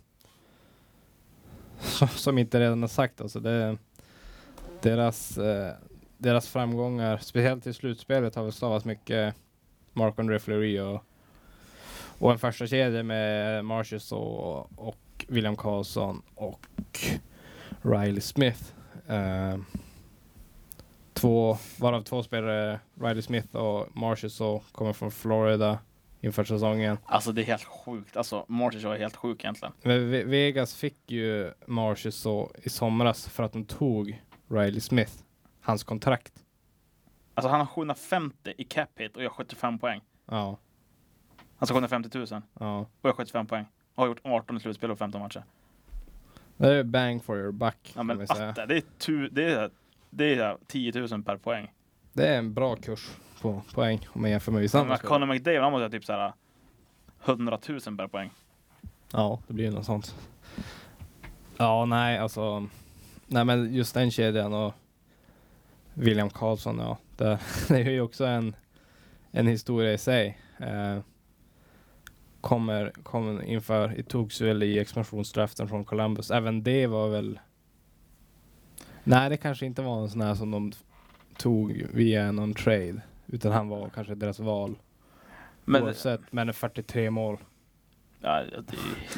*laughs* som- som inte redan är sagt, alltså det, deras, eh, deras framgångar, speciellt i slutspelet, har väl stavats mycket Mark andré Fleury och, och en första kedja med Marcius och, och William Karlsson och Riley Smith. Eh, två, varav två spelare, Riley Smith och Marcius, och kommer från Florida inför säsongen. Alltså det är helt sjukt. Alltså Martin är helt sjuk egentligen. Men Ve- Vegas fick ju Marshes så i somras för att de tog Riley Smith, hans kontrakt. Alltså han har 750 i cap hit och jag har 75 poäng. Ja, Alltså 750 000 och ja. jag har 75 poäng. Och har gjort 18 i slutspel och 15 matcher. Det är bang for your buck. Ja kan men vi säga. atta, det är, tu, det är, det är 10 000 per poäng. Det är en bra kurs på poäng om man jämför med vissa Men andra spelare. Conor McDavid han måste ha typ såhär 100 000 per poäng. Ja, det blir ju något sånt. Ja, nej, alltså. Nej, men just den kedjan och William Karlsson, ja. Det, *laughs* det är ju också en, en historia i sig. Eh, kommer, kommer inför, det togs väl i expansionsdraften från Columbus. Även det var väl... Nej, det kanske inte var en sån här som de tog via någon trade. Utan han var kanske deras val. Men, Men oavsett, men 43 mål. ja, det,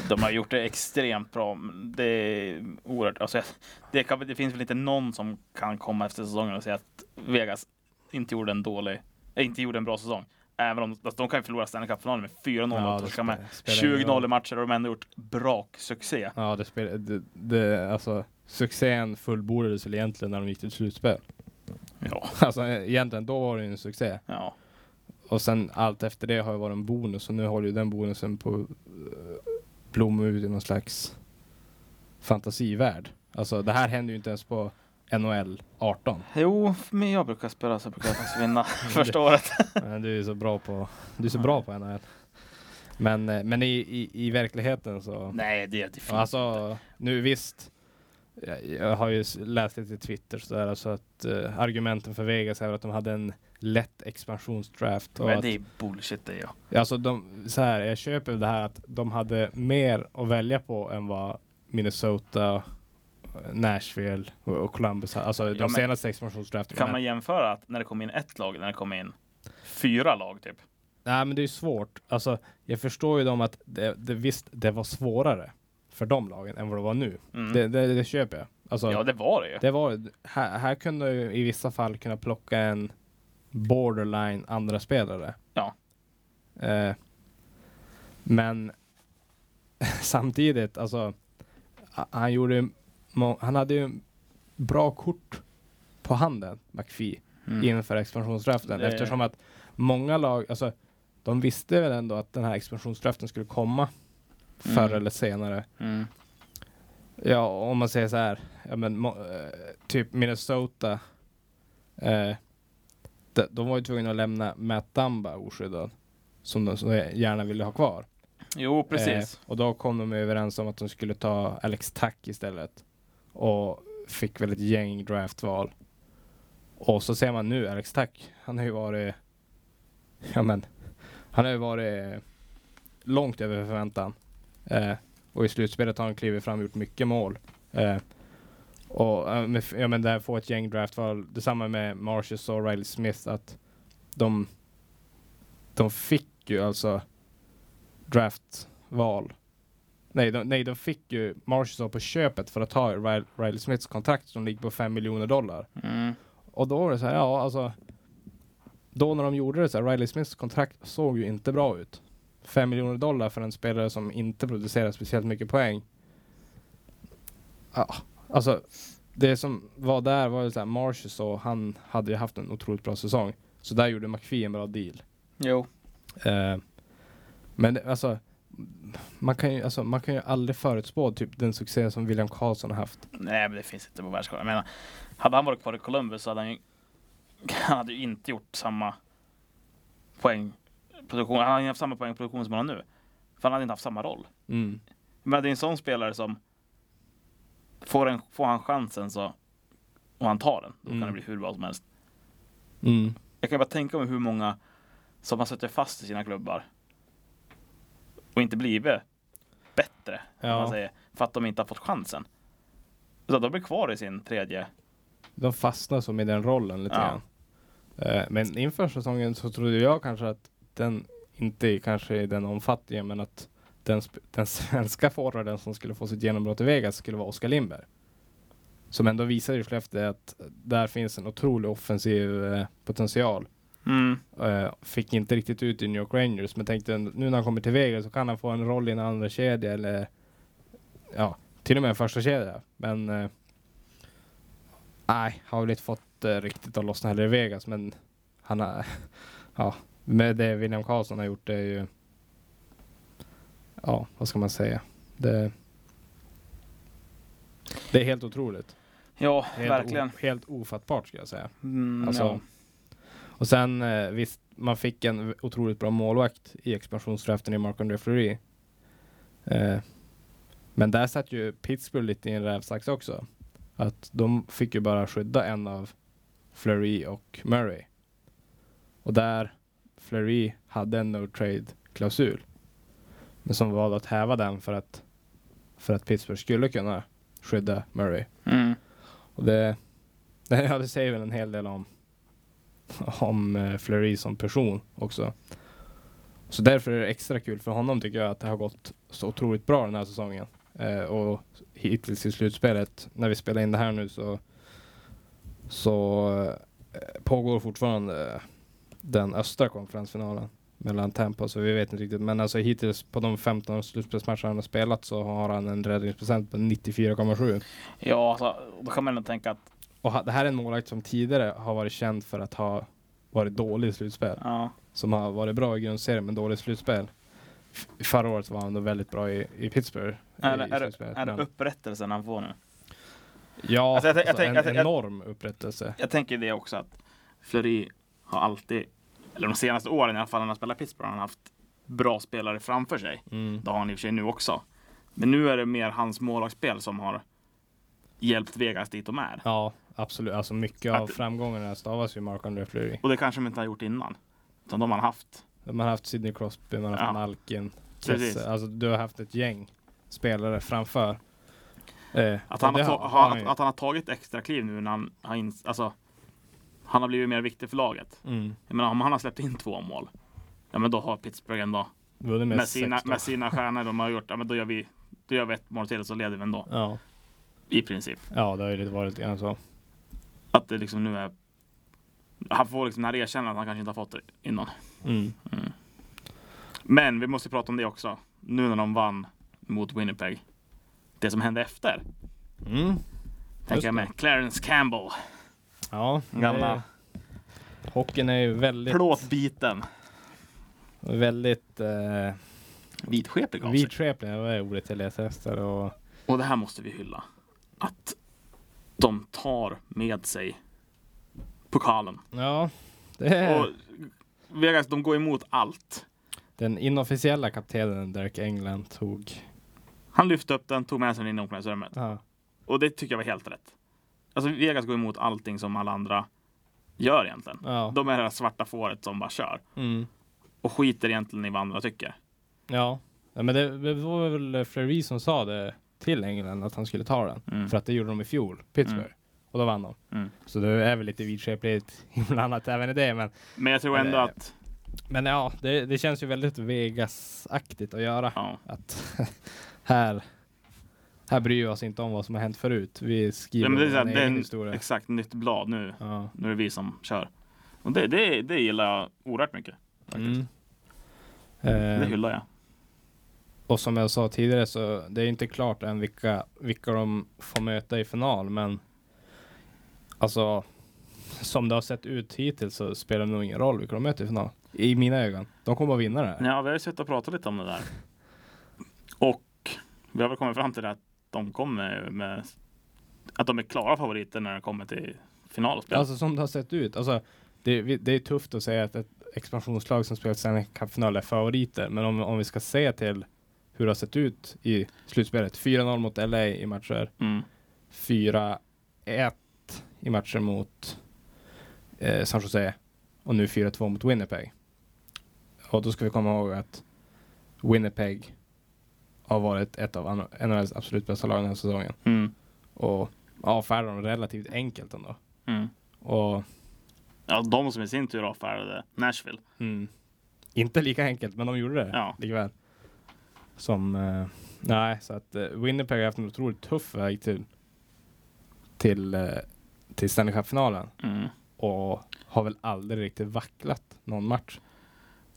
de har gjort det extremt bra. Men Det är oerhört. Alltså, jag- det, kan, det finns väl inte någon som kan komma efter säsongen och säga att Vegas inte gjorde en dålig, äh, inte gjorde en bra säsong. Även om alltså, de kan ju förlora Stanley Cup-finalen med 4-0 och det torska med spelar- spelar ingen roll. 20-0 i matcher och de har ändå gjort braksuccé. Ja, det spelar, det, det, alltså succén fullbordades väl egentligen när de gick till slutspel. *laughs* Ja. Alltså egentligen, då var det ju en succé. ja. Och sen allt efter det har ju varit en bonus och nu håller ju den bonusen på uh, blomma ut i någon slags fantasivärld. Alltså det här händer ju inte ens på NHL 18. Jo, men jag brukar spela så brukar jag *laughs* faktiskt vinna första året. Men du är så bra på, du är så bra på NHL. Men, eh, men i, i, i verkligheten så... Nej, det är definitivt. Ja, Alltså, nu visst. Jag, jag har ju s- läst lite Twitter så där, alltså att eh, argumenten för Vegas är väl att de hade en lätt expansionsdraft. Och men att, det är bullshit det. Ja. alltså de, så här, jag köper det här att de hade mer att välja på än vad Minnesota, Nashville och, och Columbus hade. Alltså de men- senaste expansionsdrafterna. Kan man jämföra att när det kom in ett lag, när det kom in fyra lag typ? Nej men det är ju svårt. Alltså, jag förstår ju dem att det, det, visst, det var svårare för de lagen än vad det var nu. Mm. Det, det, det köper jag. Alltså, ja, det var det ju. Det var, här, här kunde du i vissa fall kunna plocka en borderline andra spelare. Ja. Eh, men *laughs* samtidigt, alltså, a- han gjorde ju må- han hade ju bra kort på handen, McPhee, Mm. inför expansionsdraften. Det- Eftersom att många lag, alltså, de visste väl ändå att den här expansionsdraften skulle komma förr Mm. eller senare. Mm. Ja, om man säger så här, ja, men, må- eh, typ Minnesota eh, de, de var ju tvungna att lämna Matt Dumba oskyddad. Som de så gärna ville ha kvar. Jo, precis. Eh, och då kom de överens om att de skulle ta Alex Tack istället. Och fick väl ett gäng draftval. Och så ser man nu Alex Tack, han har ju varit... Ja men, han har ju varit långt över förväntan. Eh, och i slutspelet har han klivit fram och gjort mycket mål. Eh, och eh, med, f- ja men där får ett gäng draftval. Detsamma med Marcius och Riley Smith att de, de fick ju alltså draftval. Nej, de, nej, de fick ju Marshall på köpet för att ta Ri- Riley Smiths kontrakt som ligger på 5 miljoner dollar. Mm. Och då var det så här, ja alltså. Då när de gjorde det så här, Riley Smiths kontrakt såg ju inte bra ut. 5 miljoner dollar för en spelare som inte producerar speciellt mycket poäng. Ja, alltså. Det som var där var ju så här, Marshall så han hade ju haft en otroligt bra säsong. Så där gjorde McPhee en bra deal. Jo. Eh, men det- alltså man, kan ju, alltså, man kan ju aldrig förutspå typ den succé som William Karlsson har haft. Nej, men det finns inte på världskartan. Jag menar, hade han varit kvar i Columbus så hade han ju, *laughs* han hade ju inte gjort samma poängproduktion. Han hade ju haft samma poängproduktion som han har nu. För han hade inte haft samma roll. Men det är en sån spelare som får, en, får han chansen så och han tar den, då kan Mm. det bli hur bra som helst. Mm. Jag kan bara tänka mig hur många som har suttit fast i sina klubbar och inte blivit bättre, om man Ja. säger, för att de inte har fått chansen. Utan de blir kvar i sin tredje. De fastnar som i den rollen lite Ja. grann. Eh, men inför säsongen så trodde jag kanske att den inte i- kanske i den omfattningen men att den, sp- den svenska forwarden som skulle få sitt genombrott i Vegas skulle vara Oskar Lindberg. Som ändå visar i Skellefteå att där finns en otrolig offensiv eh, potential. Mm. Eh, Fick inte riktigt ut i New York Rangers men tänkte nu när han kommer till Vegas så kan han få en roll i en andra kedja eller ja, till och med en första kedja. Men eh, nej, har väl inte fått eh, riktigt att lossna heller i Vegas men han har, *laughs* ja, med det William Karlsson har gjort det är ju ja, vad ska man säga? Det, det är helt otroligt. Ja, Helt verkligen. O, helt ofattbart ska jag säga. Mm, Alltså, ja. Och sen eh, visst, man fick en v- otroligt bra målvakt i expansionsdraften i Marc-André Fleury. Eh, men där satt ju Pittsburgh lite i en rävsax också. Att de fick ju bara skydda en av Fleury och Murray. Och där Fleury hade en no trade klausul. Men som valde att häva den för att, för att Pittsburgh skulle kunna skydda Murray. Mm. Och det, *laughs* det, ja, det säger väl en hel del om, om eh, Fleury som person också. Så därför är det extra kul för honom tycker jag att det har gått så otroligt bra den här säsongen. Eh, och hittills i slutspelet, när vi spelar in det här nu så, så eh, pågår fortfarande den östra konferensfinalen mellan Tampa, så vi vet inte riktigt. Men alltså hittills på de 15 slutspelsmatcher han har spelat så har han en räddningsprocent på 94,7. ja alltså, då kan man ändå tänka att Och ha- det här är en målvakt som tidigare har varit känd för att ha varit dålig i slutspel. ja, Som har varit bra i grundserien men dålig i slutspel. F- Förra året var han då väldigt bra i, i Pittsburgh. är, i, det- är, det- slutspelet, är det men- upprättelsen han får nu? Ja, Alltså, alltså, jag tänk- jag tänk- en jag tänk- jag- enorm upprättelse. Jag tänker det också att Fleury har alltid, eller de senaste åren i alla fall när han har spelat Pittsburgh, har han haft bra spelare framför sig. Mm. Det har han i och för sig nu också. Men nu är det mer hans målvaktsspel som har hjälpt Vegas dit de är. Ja, absolut. Alltså mycket av Att- framgångarna stavas ju Mark-André Fleury. Och det kanske de inte har gjort innan. Utan de har haft. Man har haft Sidney Crosby, man har haft Ja. Malkin, Precis. Kesse. Alltså du har haft ett gäng spelare framför. Eh, Att och han, har, det ta- har- har, har att, ju. att han har tagit extra kliv nu när han har ins- alltså, Han har blivit mer viktig för laget. Mm. Jag menar om han har släppt in två mål. Ja men då har Pittsburgh ändå Vunnit med, med sina, 16. med sina stjärnor de har gjort. Ja men då gör vi, då gör vi ett mål till så leder vi ändå. Ja. I princip. ja, det har ju lite varit lite grann så. Att det liksom nu är han får liksom det här erkännandet att han kanske inte har fått det innan. Mm. Men vi måste prata om det också. Nu när de vann mot Winnipeg. Det som hände efter. Mm. Just Tänker jag med. Clarence Campbell. Ja, Gamla. det- hockeyn är ju väldigt, Plåtbiten. väldigt eh, Vitskepig av sig. vidskeplig. Det var ordet jag letade efter. Och, Och det här måste vi hylla. Att de tar med sig pokalen ja, Det är Och Vegas, de går emot allt. den inofficiella kaptenen Derek England tog. Han lyfte upp den, tog med sig den in i omklädningsrummet. Ja. Och det tycker jag var helt rätt. Alltså Vegas går emot allting som alla andra gör egentligen. Ja. De är det här svarta fåret som bara kör. Mm. Och skiter egentligen i vad andra tycker. Ja. ja, men det, det var väl Fleury som sa det till England att han skulle ta den. Mm. För att det gjorde de i fjol, Pittsburgh. Och då vann de. Mm. Så det är väl lite vidskepligt *laughs* inblandat även i det. Men, Men jag tror Men ändå det- att... men ja, det, det känns ju väldigt Vegas-aktigt att göra. Ja. Att *laughs* här, här bryr vi oss inte om vad som har hänt förut. Vi skriver Ja, men det är, så här, vår det är egen en, historia. exakt, nytt blad nu. Ja. Nu är det vi som kör. Och det, det, det gillar jag oerhört mycket. Mm. Det Eh, hyllar jag. och som jag sa tidigare så det är inte klart än vilka, vilka de får möta i final. Men alltså, som det har sett ut hittills så spelar det nog ingen roll vilka de möter i final. I mina ögon. De kommer att vinna det här. Ja, vi har ju suttit och pratat lite om det där. Och vi har väl kommit fram till det att de kommer med... Att de är klara favoriter när de kommer till finalspel. Alltså som det har sett ut. Alltså, det, vi- det är tufft att säga att ett expansionslag som spelat Stanley Cup-final är favoriter. Men om, om vi ska se till hur det har sett ut i slutspelet. 4-0 mot LA i matcher. mm. 4-1 i matcher mot eh, San Jose. Och nu 4-2 mot Winnipeg. Och då ska vi komma ihåg att Winnipeg har varit ett av NHLs absolut bästa lag den här säsongen. Mm. Och avfärdar dem relativt enkelt ändå. Mm. Och Ja, de som i sin tur avfärdade Nashville. Mm. Inte lika enkelt, men de gjorde det Ja. likväl. Som, eh, nej, så att eh, Winnipeg har haft en otroligt tuff väg till, till, eh, till Stanley Cup-finalen Mm. och har väl aldrig riktigt vacklat någon match.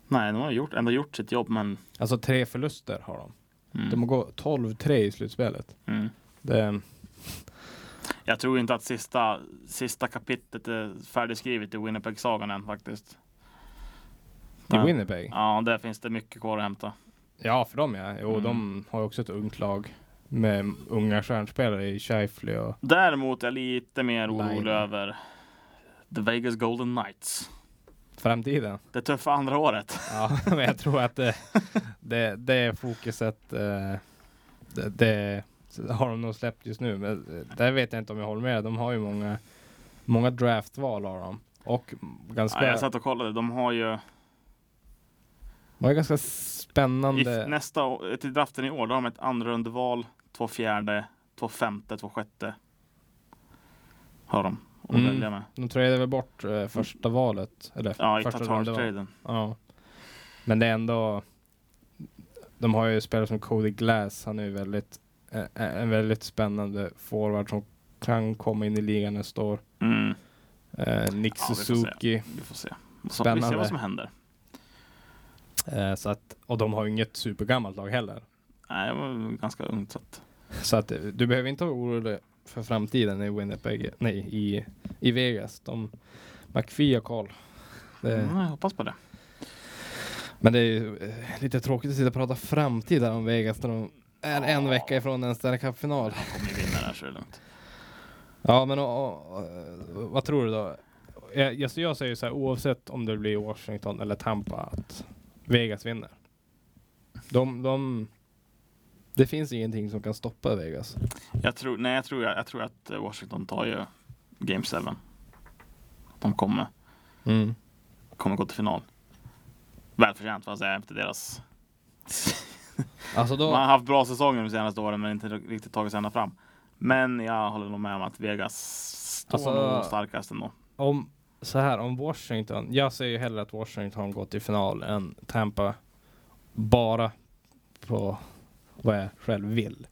Nej, de har gjort, ändå gjort sitt jobb, men... Alltså tre förluster har de. Mm. De går 12-3 i slutspelet. Mm. Det, Jag tror inte att sista, sista kapitlet är färdigskrivet i Winnipeg-sagan än faktiskt. I Nej. Winnipeg? Ja, där finns det mycket kvar att hämta. Ja, för dem ja. Jo, Mm. de har ju också ett ungt lag med unga stjärnspelare i Scheifly och Däremot är jag lite mer orolig Line. över The Vegas Golden Knights. framtiden. Det tuffa andra året. Ja, *laughs* men jag tror att det, det, det är fokuset. eh, Det, det har de nog släppt just nu. Men eh, där vet jag inte om jag håller med. De har ju många, många draftval har de. Och ganska, Ja, jag satt och kollade. De har ju de har ganska i, spännande. nästa å- till draften i år, då har de ett andra rundeval, två fjärde, två femte, två sjätte. Har de. Och Mm. välja med. De trade väl bort eh, första valet. Eller Ja, i första rundeval. Tatar-traden. Ja. Men det är ändå. De har ju spelare som Cody Glass. Han är ju väldigt, eh, en väldigt spännande forward som kan komma in i ligan nästa år. Mm. Eh, Nick Ja, vi får se. Suzuki. Vi får se. Så, vi ser Spännande. vad som händer. Eh, så att, och de har ju inget supergammalt lag heller. Nej, det var ganska ungt. Så att... Så att eh, du behöver inte vara orolig för framtiden i Winnipeg, nej i, i Vegas. De, McPhee har koll. Det, mm, jag hoppas på det. Men det är ju eh, lite tråkigt att sitta och prata framtid här om Vegas när de är en vecka ifrån en Stanley Cup-final. De kommer ju vinna det här så är det lugnt. Ja men och, och, vad tror du då? Jag, jag, så jag säger så här oavsett om det blir Washington eller Tampa att Vegas vinner. De, de, det finns ingenting som kan stoppa Vegas. Jag tror, nej, jag tror, jag, jag tror att eh, Washington tar ju Game 7. De kommer, kommer gå till final. Välförtjänt får jag säga efter deras... Alltså Man har då, haft bra säsonger de senaste åren men inte riktigt tagit sig ända fram. Men jag håller nog med om att Vegas står Alltså- nog starkast ändå. om, så här om Washington. Jag ser ju hellre att Washington går till final än Tampa. Bara på vad jag själv vill.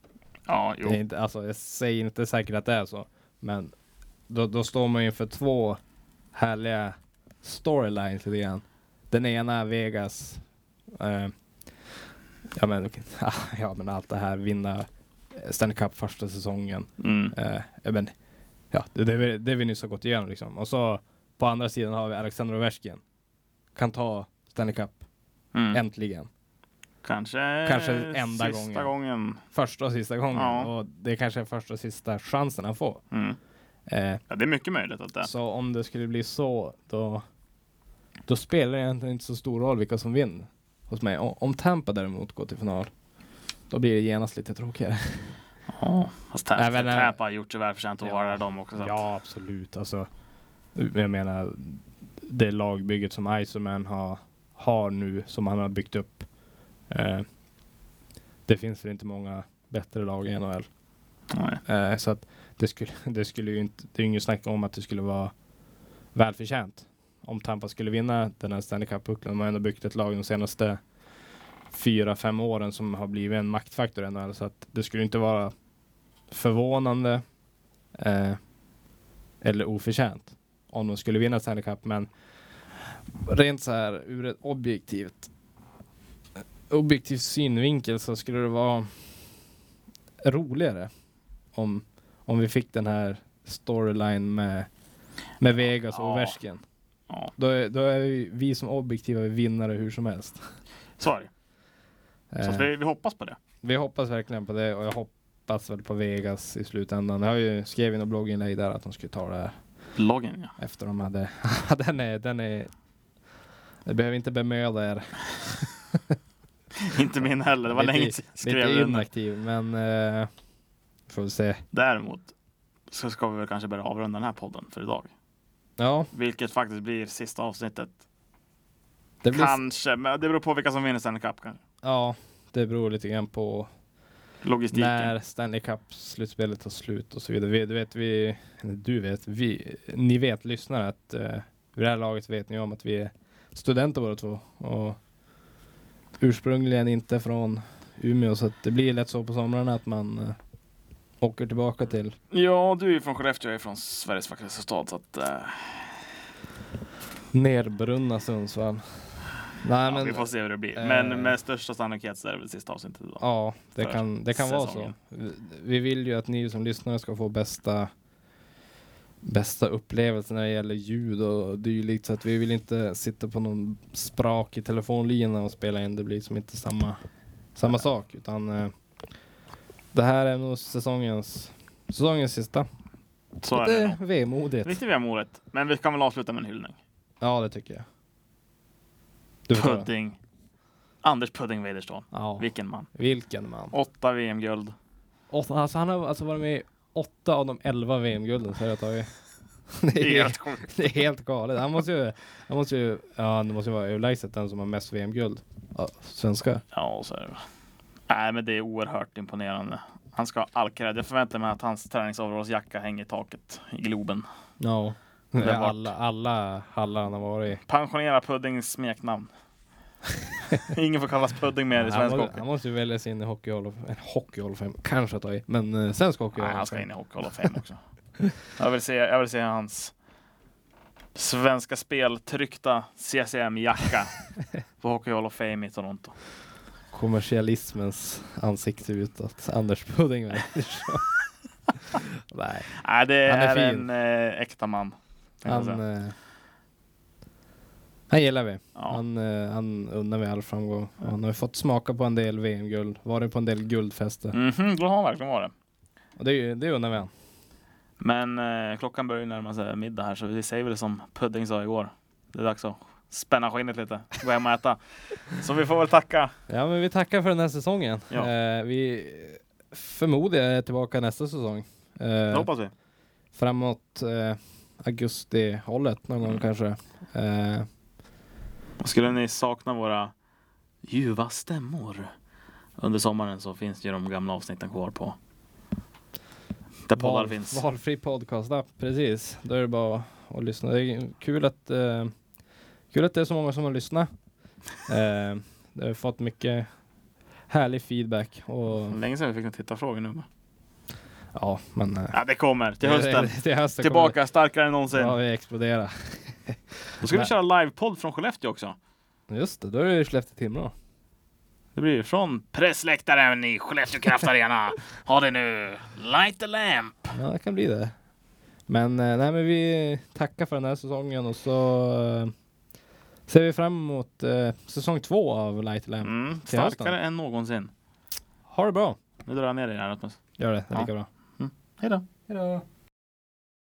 Ja, Det är jo. inte, alltså, jag säger inte säkert att det är så. Men då, då står man ju inför två härliga storylines lite grann. Den ena är Vegas. Eh, ja, men, okej. *laughs* ah, ja men allt det här. Vinna eh, Stanley Cup första säsongen. Mm. Eh, ja, men, ja, det, det, är vi- det är vi nyss har gått igenom liksom. Och så på andra sidan har vi Alexander Ovechkin. Kan ta Stanley Cup. Mm. Äntligen. Kanske, Kanske enda sista gången. Första och sista gången. Ja. Och det kanske är första och sista chansen han får. Mm. Eh, Ja, det är mycket möjligt att det Så om det skulle bli så, då, Då spelar det egentligen inte så stor roll vilka som vinner hos mig. O- Om Tampa däremot går till final, då blir det genast lite tråkigare. Ja, fast Tä- Nej, men, nej. Täpa har gjort sig välförtjänt eh, att Ja. vara där de också. Så att, Ja, absolut. Alltså, jag menar, det lagbygget som Iceman har, har nu, som han har byggt upp. Eh, det finns väl inte många bättre lag i NHL. nej. Eh, så att det skulle, *laughs* det skulle ju inte, det är ju inget snack om att det skulle vara välförtjänt. Om Tampa skulle vinna den här Stanley Cup-pucklen. De har ändå byggt ett lag de senaste fyra, fem åren som har blivit en maktfaktor i NHL. Så att det skulle inte vara förvånande eh, eller oförtjänt om de skulle vinna Stanley Cup. Men rent så här ur ett objektivt objektiv synvinkel så skulle det vara roligare om, om vi fick den här storyline med, med Vegas och Ja. Ovechkin. Ja, Då är, då är vi, vi som objektiva vinnare hur som helst. så är det. Så Eh, att vi, vi hoppas på det. vi hoppas verkligen på det och jag hoppas väl på Vegas i slutändan. Jag har ju skrivit något blogginlägg där att de skulle ta det här Loggen ja. efter de hade... *laughs* Ja, den är... Den är... Jag behöver inte bemöda er. Inte min heller. Det var Lite- länge sedan jag skrev Lite den. inaktiv, men... eh, får vi se. Däremot så ska vi väl kanske börja avrunda den här podden för idag. Ja, Vilket faktiskt blir sista avsnittet. det blir... Kanske, men det beror på vilka som vinner Stanley Cup kanske. Ja, det beror lite grann på Logistiken. när Stanley Cup-slutspelet tar slut och så vidare. Vi, du vet, vi... eller Du vet, vi... Ni vet, lyssnare, att... Uh, vid det här laget vet ni om att vi är studenter båda två. Och ursprungligen inte från Umeå, så att det blir lätt så på somrarna att man eh, åker tillbaka till Ja, du är ju från Skellefteå, jag är från Sveriges vackraste stad. Så att, eh, Nerbrunna Sundsvall. Nej ja, men, vi får se hur det blir. Men eh, med största sannolikhet så är det väl sista avsnittet idag. ja det för kan, det kan vara så. säsongen. Vi- Vi vill ju att ni som lyssnare ska få bästa bästa upplevelsen när det gäller ljud och dylikt så att vi vill inte sitta på någon sprak i telefonlina och spela in. Det blir som inte samma, samma sak utan eh, det här är nog säsongens, säsongens sista. så är det. Lite nog. vemodigt. Riktigt vemodigt. Men vi kan väl avsluta med en hyllning. Ja det tycker jag. Du får *laughs* ta den. Pudding. Anders Pudding Wederstål. Ja, Vilken man. vilken man. Åtta VM-guld. *laughs* Åtta, alltså han har alltså varit med i åtta av de elva VM-gulden så jag tagit. Det *laughs* Det är är, helt *laughs* sjukt. det är helt galet. Han måste ju, han måste ju, ja det måste ju vara överlägset den som har mest VM-guld. Ja, svenska. Ja, så är det. Nej, men det är oerhört imponerande. Han ska ha all cred. Jag förväntar mig att hans träningsoverallsjacka hänger i taket i Globen. Ja. Det är Alla, alla hallar han har varit i. Pensionera *laughs* Puddings smeknamn. Ingen får kallas Pudding mer i han, svensk må, hockey. han måste ju välja sig in i Hockey Hall of, en Hockey Hall of Fame, kanske att ta i, men eh, svensk Hockey Nej, Hall han of ska in Fame. i Hockey Hall of Fame *laughs* också. Jag vill se, jag vill se hans Svenska Spel tryckta *laughs* CCM-jacka på Hockey Hall of Fame i Toronto. Kommersialismens ansikte utåt. Anders *laughs* Pudding. va? Nej. Nej, det Han är är, fin. en eh, äkta man. tänkte jag Han, säga. eh, han gillar vi. Ja. Han, eh, han unnar vi all framgång. Och Han har ju fått smaka på en del VM-guld, varit på en del guldfester. Mhm, då har han verkligen varit. Och det, är ju- det unnar vi han. Men eh, klockan börjar ju närma sig middag här så vi säger väl som Pudding sa igår. Det är dags att spänna skinnet lite, gå hem och äta. Så vi får väl tacka. Ja, men vi tackar för den här säsongen. Ja. Eh, vi förmodligen är tillbaka nästa säsong. Det Eh, hoppas vi. framåt eh, augusti-hållet någon gång Mm. kanske. Eh, Och Skulle ni sakna våra ljuva stämmor under sommaren så finns ju de gamla avsnitten kvar på där poddar val, finns. valfri podcastapp, precis. Då är det bara att lyssna. Det är kul att, eh, kul att det är så många som har lyssnat. Eh, det har fått mycket härlig feedback och Länge sedan vi fick en tittarfråga nu. ja, men eh, Ja, det kommer till hösten. *laughs* till hösten kommer Tillbaka starkare än det- Ja, någonsin. vi exploderar. Då ska vi Nej. köra livepodd från Skellefteå också. Just det, då är det Skellefteå-Timrå. Det blir från pressläktaren i Skellefteå Kraft Arena. Ha det nu! Light the lamp! Ja, det kan bli det. Men eh, nej, men vi tackar för den här säsongen och så eh, ser vi fram emot eh, säsong två av Light Lamp. Mm, Till hösten. starkare än någonsin. Ha det bra! Nu drar jag ner dig här Rasmus. Gör det, det är Ja. Mm. lika bra. Hej då. Hejdå!